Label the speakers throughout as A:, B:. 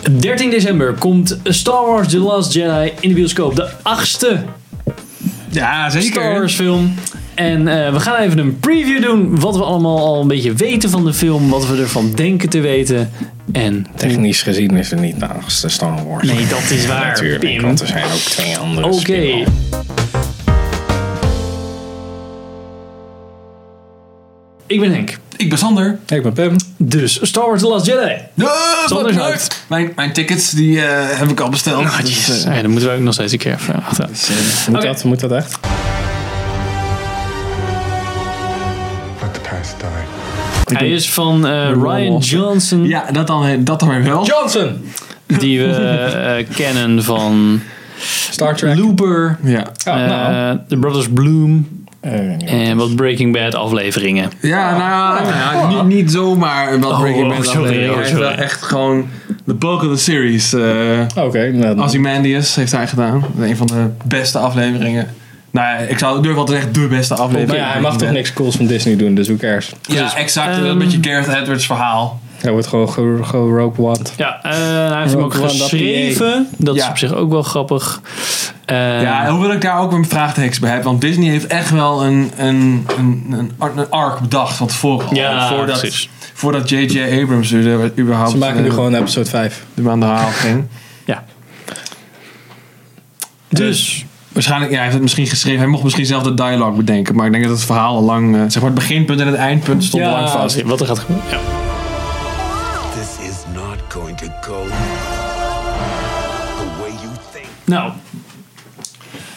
A: 13 december komt Star Wars The Last Jedi in de bioscoop. De achtste
B: Ja, zeker.
A: Star Wars film. En eh, we gaan even een preview doen. Wat we allemaal al een beetje weten van de film. Wat we ervan denken te weten. En
C: Technisch gezien is het niet de achtste Star Wars.
A: nee, dat is waar.
C: natuurlijk.
A: Pim.
C: Want er zijn ook twee andere.
A: Oké.
C: spin-offs.
A: Ik ben Henk.
B: Ik ben Sander.
C: Ik ben Pim.
A: Dus Star Wars The Last Jedi.
B: Ja,
A: Sander
B: wat
A: is
B: leuk.
A: uit.
B: Mijn, mijn tickets die eh, heb ik al besteld. Dus, eh,
A: Ja, dan moeten we ook nog steeds een keer vragen.
C: Moet,
A: Oké.
C: dat, moet dat echt?
D: Let the past die.
A: Hij is van eh, Ryan Johnson.
B: ja, dat dan, eh, dat dan weer wel.
C: Johnson!
A: Die we eh, kennen van
C: Star Trek.
A: Looper.
B: Ja,
C: Oh,
A: eh,
C: nou.
A: The Brothers Bloom.
C: Eh, ja.
A: En wat Breaking Bad afleveringen.
B: ja nou, nou, Niet, niet zomaar wat Breaking
A: oh,
B: Bad
A: sorry,
B: aflevering.
A: oh,
B: Hij heeft wel
A: sorry.
B: echt gewoon de bulk of the series. eh
C: Oké, nou, dan-
B: Ozymandias heeft hij gedaan. Een van de beste afleveringen. Nou ja, ik zou durf wel te zeggen de beste aflevering.
C: maar ja, hij mag toch niks cools van Disney doen, dus hoe cares?
B: Ja, exact.
A: Ehm,
B: een beetje Gareth Edwards verhaal.
C: Hij wordt gewoon ge- gewoon Rogue One.
A: Ja, eh, hij heeft hem ook
C: Rogue One, dat
A: geschreven. Dat is
B: Ja.
A: op zich ook wel grappig. Eh,
B: Ja, en hoewel ik daar ook een vraagtekens bij heb. Want Disney heeft echt wel een, een, een, een, ar- een arc bedacht van tevoren. al.
A: Ja,
B: voordat,
A: precies.
B: Voordat J.J. Abrams er überhaupt
C: Ze maken nu
B: eh,
C: gewoon episode 5.
B: er aan de haal ging.
A: ja. Dus,
B: Waarschijnlijk, ja, hij heeft het misschien geschreven. Hij mocht misschien zelf de dialogue bedenken. Maar ik denk dat het verhaal al lang... eh, zeg maar het beginpunt en het eindpunt stonden lang vast.
A: wat er gaat gebeuren. Nou. Ja.
E: This is not going to go the way you think.
A: Nou.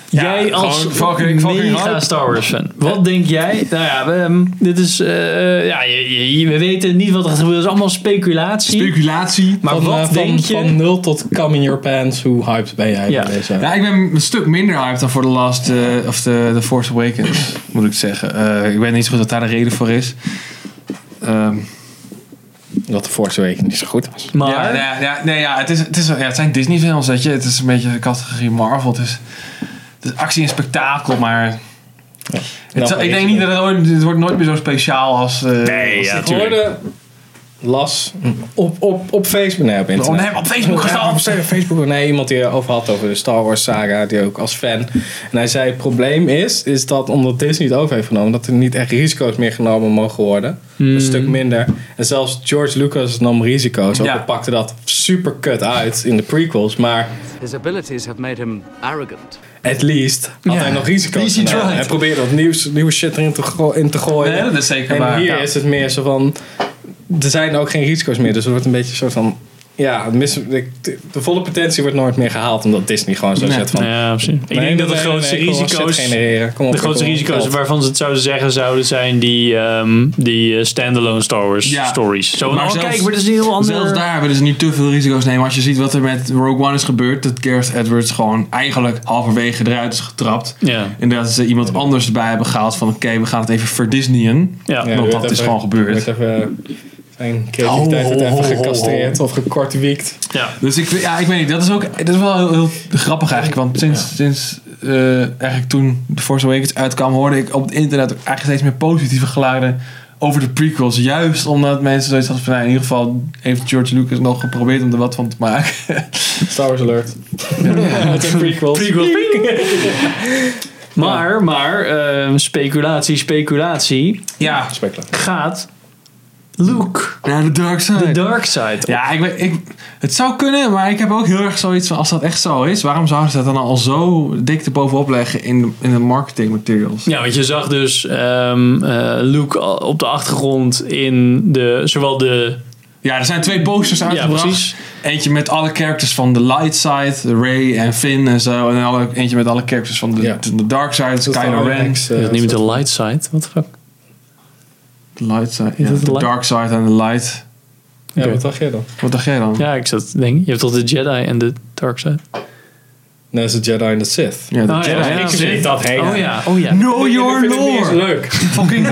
A: jij als
B: gewoon fucking- fucking
A: mega
B: hype.
A: Star Wars fan. Wat denk jij? Nou ja, we, ehm, dit is... eh, ja, je- je- je- we weten niet wat er gaat gebeuren. Het is allemaal speculatie.
B: Speculatie.
A: maar
C: Van,
A: wat
C: eh, van,
A: denk je?
C: Van 0 tot come in your pants, hoe hyped ben jij
A: Ja.
C: bij deze?
B: Ja, ik ben een stuk minder hyped dan voor The Last eh, of the, the Force Awakens, moet ik zeggen. Eh, ik weet niet zo goed wat daar de reden voor is. Ehm,
C: Dat de Force Awakens niet zo goed was.
A: maar...
B: ja, nou ja, ja, nee, ja, het, is, het, is, ja, het zijn Disney films, weet je. Het is een beetje de categorie Marvel. Het is, het is actie en spektakel, maar... Het
C: Nou,
B: zal- ik
C: maar
B: denk
C: deze-
B: niet dat het ooit... Het wordt nooit meer zo speciaal als... eh, als
A: ja,
B: dit.
A: tuurlijk.
C: hoorde, las op, op, op Facebook. Nee, op internet.
B: Oh, nee, op Facebook
C: Ja,
B: gestaan.
C: op Facebook. Nee, iemand die over had over de Star Wars saga, die ook als fan. En hij zei: het probleem is, is dat omdat Disney het over heeft genomen, dat er niet echt risico's meer genomen mogen worden. Een stuk minder. En zelfs George Lucas nam risico's. Ook
B: Ja.
C: al pakte dat super kut uit in de prequels. Maar
F: His abilities have made him arrogant.
C: at least had
B: Ja.
C: hij nog
B: At
C: risico's
B: least he
C: genomen.
B: tried.
C: Hij probeerde wat nieuws, nieuwe shit erin te, goo- in te gooien.
B: Nee, dat is zeker
C: En
B: waar.
C: hier
B: Ja.
C: is het meer zo van... Er zijn ook geen risico's meer. Dus het wordt een beetje een soort van... Ja, het mis- de, de volle potentie wordt nooit meer gehaald. Omdat Disney gewoon zo
B: Nee.
C: zet van...
A: Ja, precies. Ik
C: nee,
A: denk dat de
C: nee, nee,
A: grootste
C: nee, kom op,
A: risico's...
C: shit genereren. Kom op,
A: De
C: kom
A: grootste
C: op,
A: risico's
C: geld.
A: waarvan ze het zouden zeggen zouden zijn die, ehm, die eh, standalone Star Wars
B: Ja.
A: stories. Zo,
B: Maar
A: oh,
B: zelfs-
A: kijk, maar dat is een heel ander...
B: Zelfs daar willen ze niet te veel risico's nemen. Als je ziet wat er met Rogue One is gebeurd. Dat Gareth Edwards gewoon eigenlijk halverwege eruit is getrapt.
A: Ja.
B: En dat ze iemand anders erbij hebben gehaald. Van oké, we gaan het even verdisneyen.
A: Ja.
C: Ja,
B: Want
C: je
B: dat
C: wordt
B: is
C: even-
B: gewoon gebeurd.
C: je wordt even- Zijn creativiteit wordt
B: Ho, ho,
C: even
B: ho, ho, ho.
C: gecastreerd of gekortwiekt.
A: Ja.
B: Dus ik, ja, ik weet niet. Dat is ook dat is wel heel, heel grappig eigenlijk. Want sinds, sinds eh, eigenlijk toen The Force Awakens uitkwam, hoorde ik op het internet ook eigenlijk steeds meer positieve geluiden over de prequels. Juist omdat mensen zoiets hadden van, nou, in ieder geval heeft George Lucas nog geprobeerd om er wat van te maken.
C: Star Wars alert. Het zijn prequels.
A: Maar, maar, ehm, speculatie, speculatie.
B: ja,
C: Speculaar.
A: Gaat Luke
B: naar de dark side.
A: de dark side op?
B: Ja, ik, weet- ik, het zou kunnen, maar ik heb ook heel erg zoiets van: als dat echt zo is, waarom zouden ze dat dan al zo dik erbovenop leggen in de, in de marketing materials?
A: Ja, want je zag dus ehm, eh, Luke al op de achtergrond in de, zowel de...
B: Ja, er zijn twee posters uitgebracht.
A: precies.
B: Eentje met alle characters van de light side, Ray en Finn en zo. En alle, eentje met alle characters van de,
C: Ja.
B: de dark side, Kylo Ren.
A: Is
C: eh,
A: dat niet met de light side? What the fuck?
B: De light side,
A: Is
B: ja.
A: dat de
B: De
A: light-
B: dark side en de light.
C: Ja, wat dacht jij dan?
B: Wat dacht jij dan?
A: Ja, ik zat te denken. Je hebt toch de Jedi en de dark side?
C: Nee, is het Jedi en de Sith.
B: Ja, de
A: Oh,
B: Jedi.
A: ja,
C: ik
A: precies.
C: weet dat hele.
A: Oh ja, oh ja.
B: Know your
C: Ik vind het niet eens
B: lore!
C: leuk.
B: Fucking,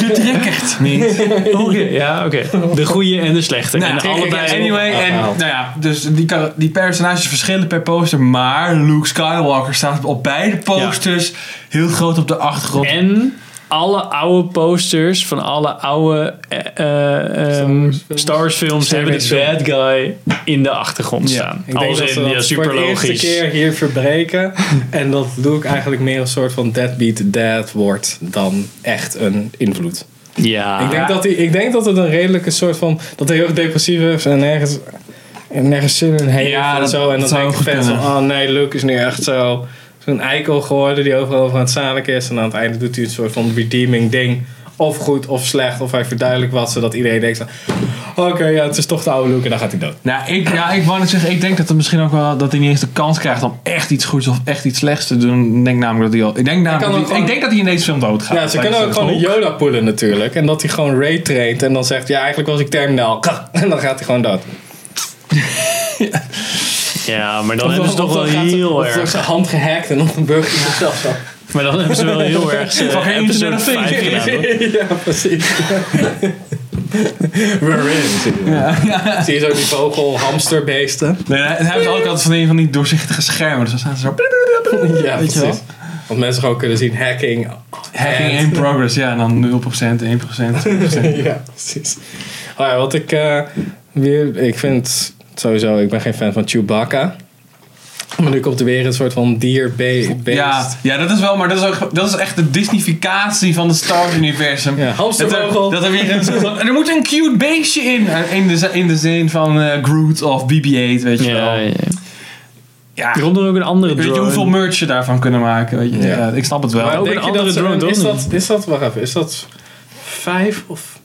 B: je trekkert niet.
A: Oké, ja, oké. De goede en de slechte.
B: Nou,
A: en
B: ik- ik-
A: allebei.
B: Anyway, en,
C: Ah, ah.
B: nou ja, dus die, kar- die personages verschillen per poster. Maar Luke Skywalker staat op beide posters heel groot op de achtergrond.
A: En alle oude posters van alle oude eh, eh, ehm,
C: Wars films.
A: Star Wars films
C: Star
A: hebben
C: Wars
A: de bad guy in de achtergrond
B: Ja,
A: staan.
C: Ik denk
A: Als
C: dat
A: in,
C: ze dat
A: ja,
C: voor
A: super
C: de eerste
A: logisch.
C: keer hier verbreken. en dat doe ik eigenlijk meer een soort van deadbeat dad wordt dan echt een invloed.
A: Ja.
B: Ah.
C: Ik, denk dat die, ik denk dat het een redelijke soort van... Dat hij heel erg depressief is en nergens, en nergens zin in heeft
B: Ja,
C: en
B: dat-
C: zo.
B: dat
C: En dan
B: zou
C: denk ik
B: goed
C: vet van,
B: kunnen.
C: oh nee, Luke is nu echt zo... Zo'n eikel geworden die overal over aan het zadelijk is. En aan het einde doet hij een soort van redeeming ding. Of goed of slecht. Of hij verduidelijkt wat, zodat iedereen denkt van... Oké, ja, het is toch de oude Luke en dan gaat hij dood.
B: Nou, ik, ja, ik wou net zeggen, ik denk dat het misschien ook wel dat hij niet eens de kans krijgt om echt iets goeds of echt iets slechts te doen. Ik denk namelijk dat hij al. Ik denk, namelijk dat
C: kan
B: hij,
C: ook gewoon-
B: ik denk dat hij in deze film doodgaat.
C: Ja, ze kunnen ook gewoon een Yoda poelen natuurlijk. En dat hij gewoon Ray traint en dan zegt... Ja, eigenlijk was ik terminaal. En dan gaat hij gewoon dood.
A: Ja, maar dan
C: Of
A: hebben ze
C: dan-
A: toch
C: of
A: wel
C: dan gaat ze-
A: heel
C: of dan
A: erg.
C: wordt zijn hand gehackt en op een burger zichzelf zo.
A: Maar dan hebben ze wel heel erg. eh,
B: Van geen
A: episode
B: internet of
A: 5
B: thing.
A: gedaan, hoor.
C: Ja, precies. We're in. zie je. Zie je zo die vogel, hamsterbeesten?
B: Nee, nee, en hij heeft ook altijd van die, van die doorzichtige schermen. Dus dan staan ze zo.
C: Ja,
B: Weet je wel?
C: precies. Want mensen gewoon kunnen zien hacking.
B: Hacking in progress, ja. En dan 0%, 1%.
C: Ja, precies. Oh ja, wat ik eh, weer... Ik vind sowieso... Ik ben geen fan van Chewbacca. Maar nu komt er weer een soort van dier-beest.
B: Ja, ja, dat is wel, maar dat is, ook, dat is echt de Disneyficatie van de Star Wars universum.
C: Ja, hamstervogel.
B: Dat er, dat er weer een soort van- er moet een cute beestje in. Eh, In de, z- in de zin van eh, Groot of BB-8, weet je
A: Ja,
B: wel.
A: ja.
B: Ja,
A: Er komt dan ook een andere
B: Weet je
A: drone.
B: hoeveel merch je daarvan kunnen maken? Weet je?
C: Ja.
B: Ja. ik snap het wel.
C: Maar
A: ook
C: denk
A: een
C: je
A: andere
C: dat ze-
A: drone
C: Is
A: dan.
C: dat, is dat, wacht even, is dat vijf of...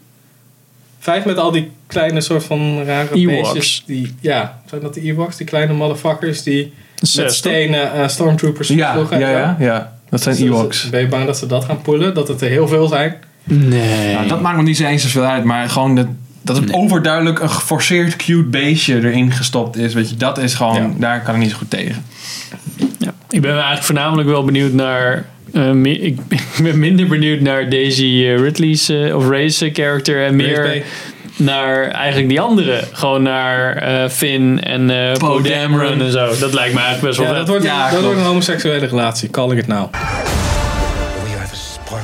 C: Vijf met al die kleine soort van rare
A: Ewoks.
C: beestjes Die, ja, zijn dat de Ewoks? Die kleine motherfuckers die met
A: Zes, toch?
C: stenen eh, stormtroopers
B: ja,
C: versloegen en
B: ja,
C: zo?
B: ja, ja, dat zijn
C: Dus dat-
B: Ewoks.
C: Ben je bang dat ze dat gaan poelen? Dat het er heel veel zijn?
A: Nee.
B: Nou, dat maakt me niet zo eens zoveel uit, maar gewoon dat, dat het overduidelijk een geforceerd cute beestje erin gestopt is. Weet je, dat is gewoon,
C: Ja.
B: daar kan ik niet zo goed tegen.
A: Ja. Ik ben eigenlijk voornamelijk wel benieuwd naar. eh, me- ik, ik ben minder benieuwd naar Daisy eh, Ridley's eh, of Ray's eh, character. En meer
C: Race
A: naar eigenlijk die andere. Gewoon naar eh, Finn en eh Poe
B: Dameron.
A: Dameron en zo. Dat lijkt me eigenlijk best wel
C: Oh, Ja,
A: vet.
C: Oh, dat wordt,
B: Ja,
C: dat
B: klopt.
C: wordt een homoseksuele relatie. Calling it now.
E: We are the spark.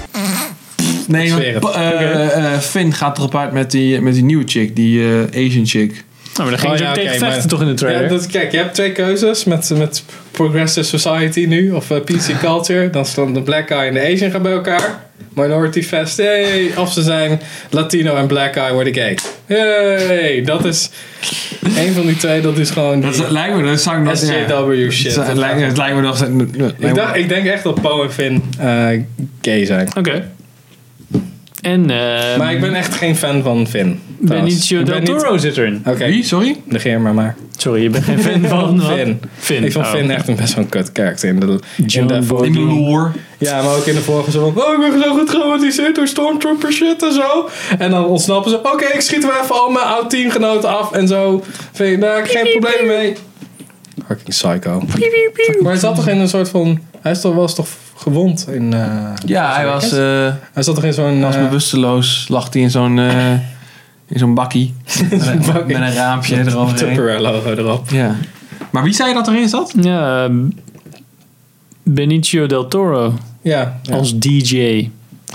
B: Nee,
C: zweer
B: want
C: het.
B: pa- eh, eh, Finn gaat erop uit met die, met die nieuwe chick, die eh, Asian chick.
A: Nou, maar dan gingen
C: Oh,
A: ze
C: ja,
A: ook tegen
C: oké,
A: vechten
C: maar-
A: toch in de trailer?
C: Ja, dat, kijk, je hebt twee keuzes met, met Progressive Society nu, of eh, PC Culture. Dan staan de Black Eye en de Asian gaan bij elkaar. Minority Fest, hey, of ze zijn Latino en Black Eye worden gay. Hey, dat is een van die twee, dat is gewoon
B: Dat
C: die
B: is- lijkt me, dat zou ik nog- ja.
C: SJW shit.
B: Het lijkt, het lijkt me nog...
C: ik, dacht, ik denk echt dat Poe en Finn eh, gay zijn.
A: Oké. En eh
C: Maar ik ben echt geen fan van Finn. trouwens.
A: Benicio
C: Ik
A: del
C: ben niet-
A: Toro zit erin.
C: Oké,
B: Wie, sorry?
C: negeer maar maar.
A: Sorry, je bent geen fan van wat?
C: Ah. Finn.
A: Finn.
C: Ik vond
A: oh.
C: Finn echt een best wel een kut karakter. In de, in
A: John
C: de
A: Boy-
B: In de lore.
C: Ja, maar ook in de vorige zo van, oh, ik ben zo getraumatiseerd door stormtrooper shit en zo. En dan ontsnappen ze, oké, ik schiet weer even al mijn oud teamgenoten af en zo. Vind je, daar geen probleem mee. Fucking psycho. Maar hij zat toch in een soort van, hij is toch, was toch gewond in... eh,
B: Ja, hij was, eh,
C: hij zat toch in zo'n...
B: was
C: eh,
B: bewusteloos. Lag hij in zo'n... eh, in zo'n bakkie. met, een,
C: bakkie.
B: met een raampje eroverheen.
C: Tupperware logo erop.
B: Ja. Maar wie zei dat erin zat?
A: Ja, eh, Benicio del Toro
C: Ja. ja.
A: als DJ.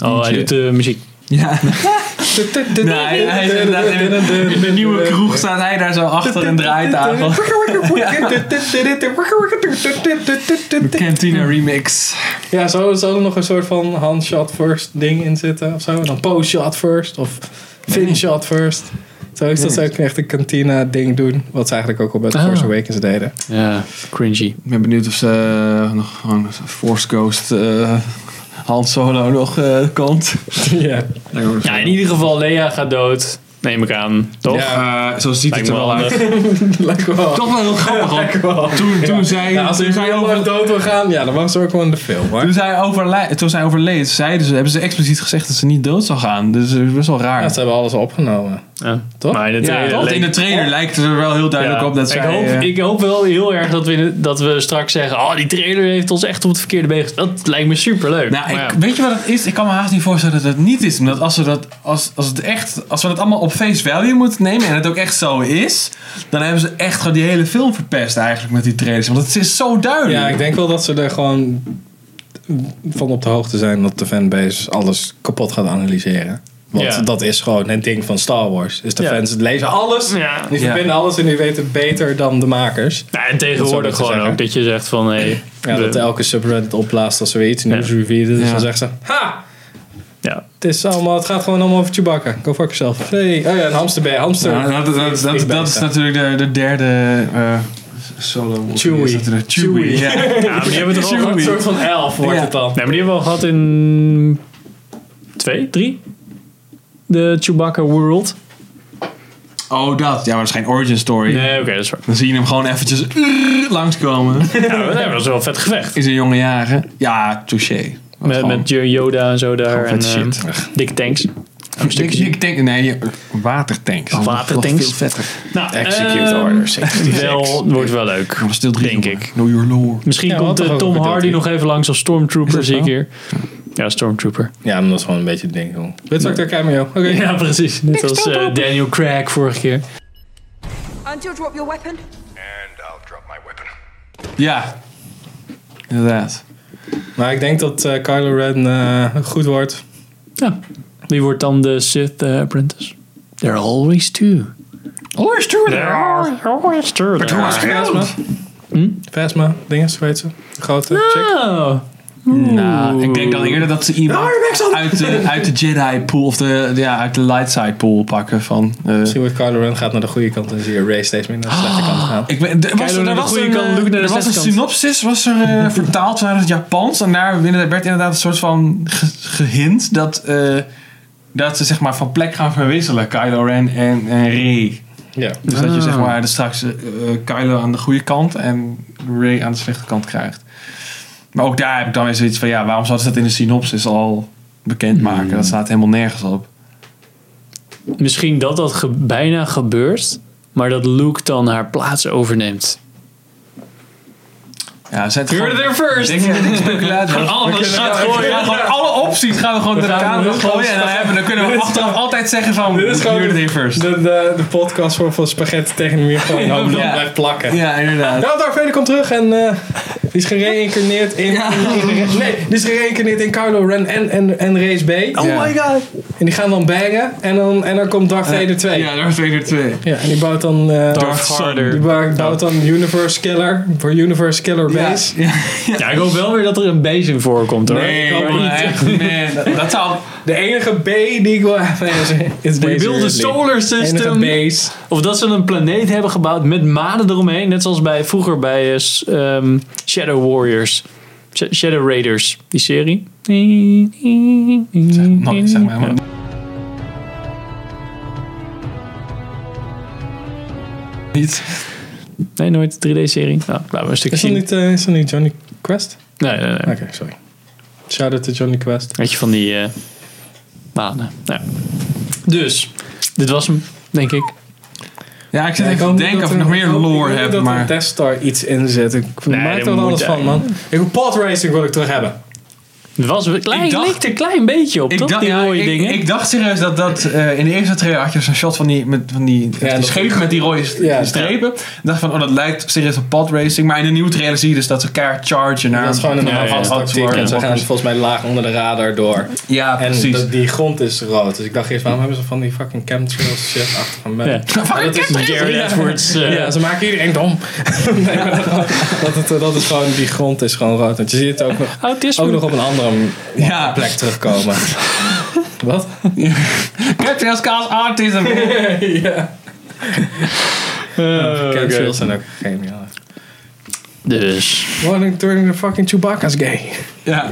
A: Oh, hij
B: DJ.
A: doet de muziek.
B: Ja. hij- hij is inderdaad in- In de nieuwe kroeg staat hij daar zo achter een draaitafel. Cantina remix.
C: Ja, zou, zou er nog een soort van handshot first ding in zitten of zo? En dan pose shot first of fin shot first. Zo is dat ze ook echt een kantina ding doen. Wat ze eigenlijk ook al bij The
A: Ah.
C: Force Awakens deden.
A: Ja, cringy.
B: Ik ben benieuwd of ze eh, nog gewoon Force Ghost eh Han Solo nog eh, komt.
C: ja.
A: Ja, in ieder geval, Lea gaat dood. Neem ik aan, toch?
C: Ja.
B: Eh, zo ziet
A: Lijkt
B: het er
A: me
B: wel uit.
A: handig.
C: Lijkt wel.
B: Toch wel heel grappig. want Toen, toen zij,
C: Ja, als
B: toen
C: ze
B: zij
C: heel erg
B: over...
C: dood wil gaan, ja, dan was ze ook wel in de film. Hoor.
B: Toen zij, overlij- toen zij overleed, zeiden ze, hebben ze expliciet gezegd dat ze niet dood zou gaan. Dus dat is best wel raar.
C: Ja, ze hebben alles al opgenomen.
A: Ja.
C: Toch?
A: Maar in de
B: Ja,
A: trailer
B: want
A: leek- Oh.
B: in de trailer lijkt het er wel heel duidelijk
A: Ja.
B: op dat zij...
A: ik, hoop,
B: eh,
A: ik hoop wel heel erg dat we, in het- dat we straks zeggen... Oh, die trailer heeft ons echt op het verkeerde been gezet. Dat lijkt me superleuk.
B: Nou,
A: Maar
B: ik,
A: ja.
B: weet je wat het is? Ik kan me haast niet voorstellen dat het niet is. Omdat als we dat, als, als het echt, als we dat allemaal op face value moeten nemen en het ook echt zo is, dan hebben ze echt gewoon die hele film verpest eigenlijk met die trailers. Want het is zo duidelijk.
C: Ja, ik denk wel dat ze er gewoon van op de hoogte zijn dat de fanbase alles kapot gaat analyseren. Want
A: Ja.
C: dat is gewoon het ding van Star Wars. Is de
A: Ja.
C: fans lezen alles.
A: Ja.
C: Die
B: Ja.
C: verbinden alles en die weten beter dan de makers.
A: Nou, en
C: Dat
A: tegenwoordig
C: zou ik
A: gewoon
C: zeggen.
A: ook dat je zegt van hey,
C: Ja,
A: we-
C: dat elke subreddit opblaast als er weer iets nieuws revealed is.
B: Ja.
C: Dan zegt ze, ha,
A: ja.
C: het, is allemaal, het gaat gewoon allemaal over Chewbacca. Go fuck yourself. Hey, oh ja, een hamster bij hamster.
B: Nou, dat, dat, dat, dat, is natuurlijk de, de derde eh, solo movie.
C: Chewie.
B: Is dat er- Chewie, ja.
A: Ja, maar die hebben het al
B: Chewie.
A: gehad.
C: een soort van elf wordt
B: Ja.
C: het dan.
A: Nee, maar die hebben we al gehad in twee, drie. De Chewbacca World.
B: Oh, dat. Ja, maar dat is geen origin story.
A: Nee, oké, dat is waar.
B: Dan zie je hem gewoon eventjes eh, langskomen.
A: Ja, maar dat was wel een vet gevecht.
B: In zijn jonge jaren. Ja, touché. Dat
A: Met,
B: gewoon-
A: met Yoda en zo daar.
B: gewoon
A: En,
B: vet
A: ehm, dikke tanks.
B: een stukje. Ik denk, nee, je- watertanks.
A: Watertanks.
B: Nog Veel vetter.
A: Nou,
C: Execute
A: ehm,
C: orders.
A: Wel, wordt wel leuk.
B: Maar stil drie.
A: Denk
B: jongen.
A: ik.
B: Know your lore.
A: Misschien
C: Ja,
A: komt
C: we hadden
A: eh,
C: toch
A: Tom
C: over
A: Hardy
C: dit
A: nog even langs als Stormtrooper,
B: Is dat
A: zie ik
B: zo?
A: hier. Ja, Stormtrooper.
C: Ja, maar dat is gewoon een beetje het ding. joh. Witwactor cameo. Oké.
A: Ja, precies. Net als eh, Daniel Craig vorige keer.
G: And you'll drop your weapon?
D: And I'll drop my weapon.
B: Ja. Inderdaad.
C: Maar ik denk dat eh, Kylo Ren eh, goed wordt.
A: Ja. Wie wordt dan de Sith eh, Apprentice? There are always two.
B: Always true there
A: always two.
C: Phasma. Hm? Phasma, dinges, weet ze. Grote chick.
A: Oh.
B: Nou, ik denk dan eerder dat ze iemand uit de, uit de Jedi pool of de, ja, uit de light side pool pakken van... eh,
C: Misschien wordt Kylo Ren gaat naar de goede kant en zie je Ray steeds meer naar de slechte kant gaan.
B: ik ben, er was,
A: naar
B: er
A: de
B: was
A: goede
B: een,
A: kant,
B: eh,
A: Luke naar de
B: er was een
A: zesde kant.
B: synopsis, was er eh, vertaald naar het Japans. En daar werd inderdaad een soort van ge- gehint dat, eh, dat ze zeg maar van plek gaan verwisselen. Kylo Ren en, en Rey.
C: Ja.
B: Dus dat je
A: Ah.
B: zeg maar dus straks eh, eh, Kylo aan de goede kant en Ray aan de slechte kant krijgt. Maar ook daar heb ik dan weer zoiets van, ja, waarom zouden ze dat in de synopsis al bekendmaken?
A: Hmm.
B: Dat staat helemaal nergens op.
A: Misschien dat dat ge- bijna gebeurt, maar dat Luke dan haar plaats overneemt.
B: Ja, zet
A: Heard it there first.
B: Denk je, speculatie.
A: Alles gaat
B: We gaan gewoon alle opties gaan we gewoon door de
C: gaan
B: kamer
C: gewoon
B: gooien. En dan, hebben, dan kunnen we achteraf altijd zeggen van,
C: Dit is gewoon
B: heard it
C: de,
B: there first.
C: de, de, de podcast voor van spaghetti tegen de muur. Gewoon hopen dat het
B: Ja.
C: blijft plakken.
B: Ja, inderdaad.
C: Nou, Darth Vader komt terug en eh, die is gereïncarneerd in... Nee, die is gereïncarneerd in Kylo Ren en, en, en Race B.
B: Oh my
C: god. En die gaan dan bangen en dan, en dan komt Darth Vader 2.
B: Ja, Darth Vader 2.
C: Ja, en die bouwt dan... eh, Die
A: Harder.
C: bou- bouwt dan Universe Killer. Voor Universe Killer
B: Ja.
C: Base.
A: Ja, ik hoop wel weer dat er een beest in voorkomt hoor.
B: Nee,
C: kan
B: maar
C: niet.
B: echt, man. Dat- Dat zou...
C: De enige B die ik wil hebben is,
A: We
C: is Base
A: build a
C: Ridley.
A: solar
C: Enige
A: system.
C: base.
A: Of dat ze een planeet hebben gebouwd met manen eromheen. Net zoals bij vroeger bij eh, s- ehm, Shadow Warriors. Sh- Shadow Raiders, die serie.
B: Nooit, zeg maar. maar- Niet.
A: Nee, nooit. 3D-serie. Nou, laten we een stukje
C: Is dat
A: zien.
C: niet, eh, is dat niet Johnny Quest?
A: Nee, nee, nee.
C: Oké, sorry. Shout out to Johnny Quest.
A: Weet je, van die eh, banen. Nou. Dus, dit was hem, denk ik.
B: Ja, ik zit
C: Ja,
B: even te denken of ik nog meer lore
C: heb.
B: heb,
C: dat
B: maar...
C: er Death Star iets in zit. Ik
A: Nee,
C: maak
A: dat
C: er wel
A: moet
C: alles van, man. Ik wil pod racing wil ik terug hebben.
A: Het was een klein,
B: Ik dacht-
A: leek er een klein beetje op, toch? die
B: ja,
A: mooie
B: ik,
A: dingen.
B: ik dacht serieus dat dat eh, in de eerste trailer had je zo'n shot van die, met, van die, van die
C: dat-
B: schepen met die rode st-
C: Ja.
B: strepen. Ik dacht van, oh dat lijkt serieus op podracing. Maar in de nieuwe trailer zie je dus dat ze elkaar chargen naar
C: dat is gewoon een
A: ja,
C: ja,
A: ja,
C: tactiek. En ze gaan volgens mij laag onder de radar door.
B: Ja,
C: En
B: precies.
C: dat- die grond is rood. Dus ik dacht eerst, waarom hebben ze van die fucking chemtrails shit achter van mij?
A: Ja.
C: Maar dat is
A: Jared Edwards. eh,
C: Ja, ze maken iedereen dom. nee, maar dat, het, dat is gewoon, die grond is gewoon rood. Want je ziet het ook nog,
A: autisme.
C: ook nog op een andere
B: Ja,
C: plek terugkomen. Wat?
B: Captain Scar's Autism.
C: ja.
A: Eh, oké.
C: Chemtrails zijn ook geniaal.
A: Dus,
C: Running turning the fucking Chewbacca's gay.
B: ja.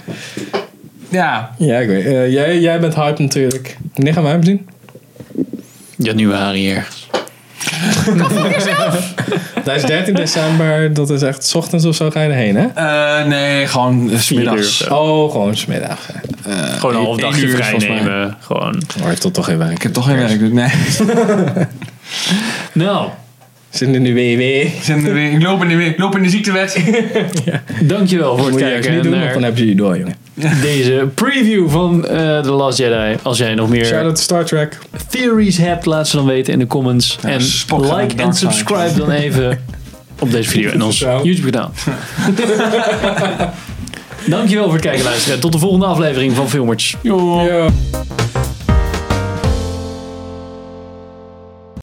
B: ja.
C: Ja, ik weet. eh, jij, jij bent hype natuurlijk. Wanneer gaan wij hem zien?
A: januari ergens.
C: Dat is 13 december. Dat is echt 's ochtends of zo ga je erheen, hè?
B: Eh, nee, gewoon eh, 's
A: Vier uur of
B: middags.
A: zo.
C: Oh, gewoon smiddag.
A: Gewoon een half
B: één
A: dagje
B: uur is
A: vrij
B: volgens mij.
A: nemen. Gewoon.
C: Maar tot toch geen
B: Ik
C: werk.
B: heb toch geen werk, dus nee.
A: Nou,
C: Zin in de WW.
B: Ik, zit er weer- ik loop in de, weer- ik loop in de ziektewet.
A: dankjewel voor het
C: Moet je juist
A: kijken
C: niet doen, want
A: naar
C: dan heb je je door, jongen.
A: deze preview van eh The Last Jedi. Als jij nog meer
C: Shout out to Star Trek.
A: theories hebt, laat ze dan weten in de comments. en
B: Spock gaat naar
A: like
B: de
A: en
B: dark side.
A: subscribe dan even op deze video en ons
C: Zo.
A: YouTube kanaal. Dankjewel voor het kijken, luisteren. Tot de volgende aflevering van Filmers.
C: Ja.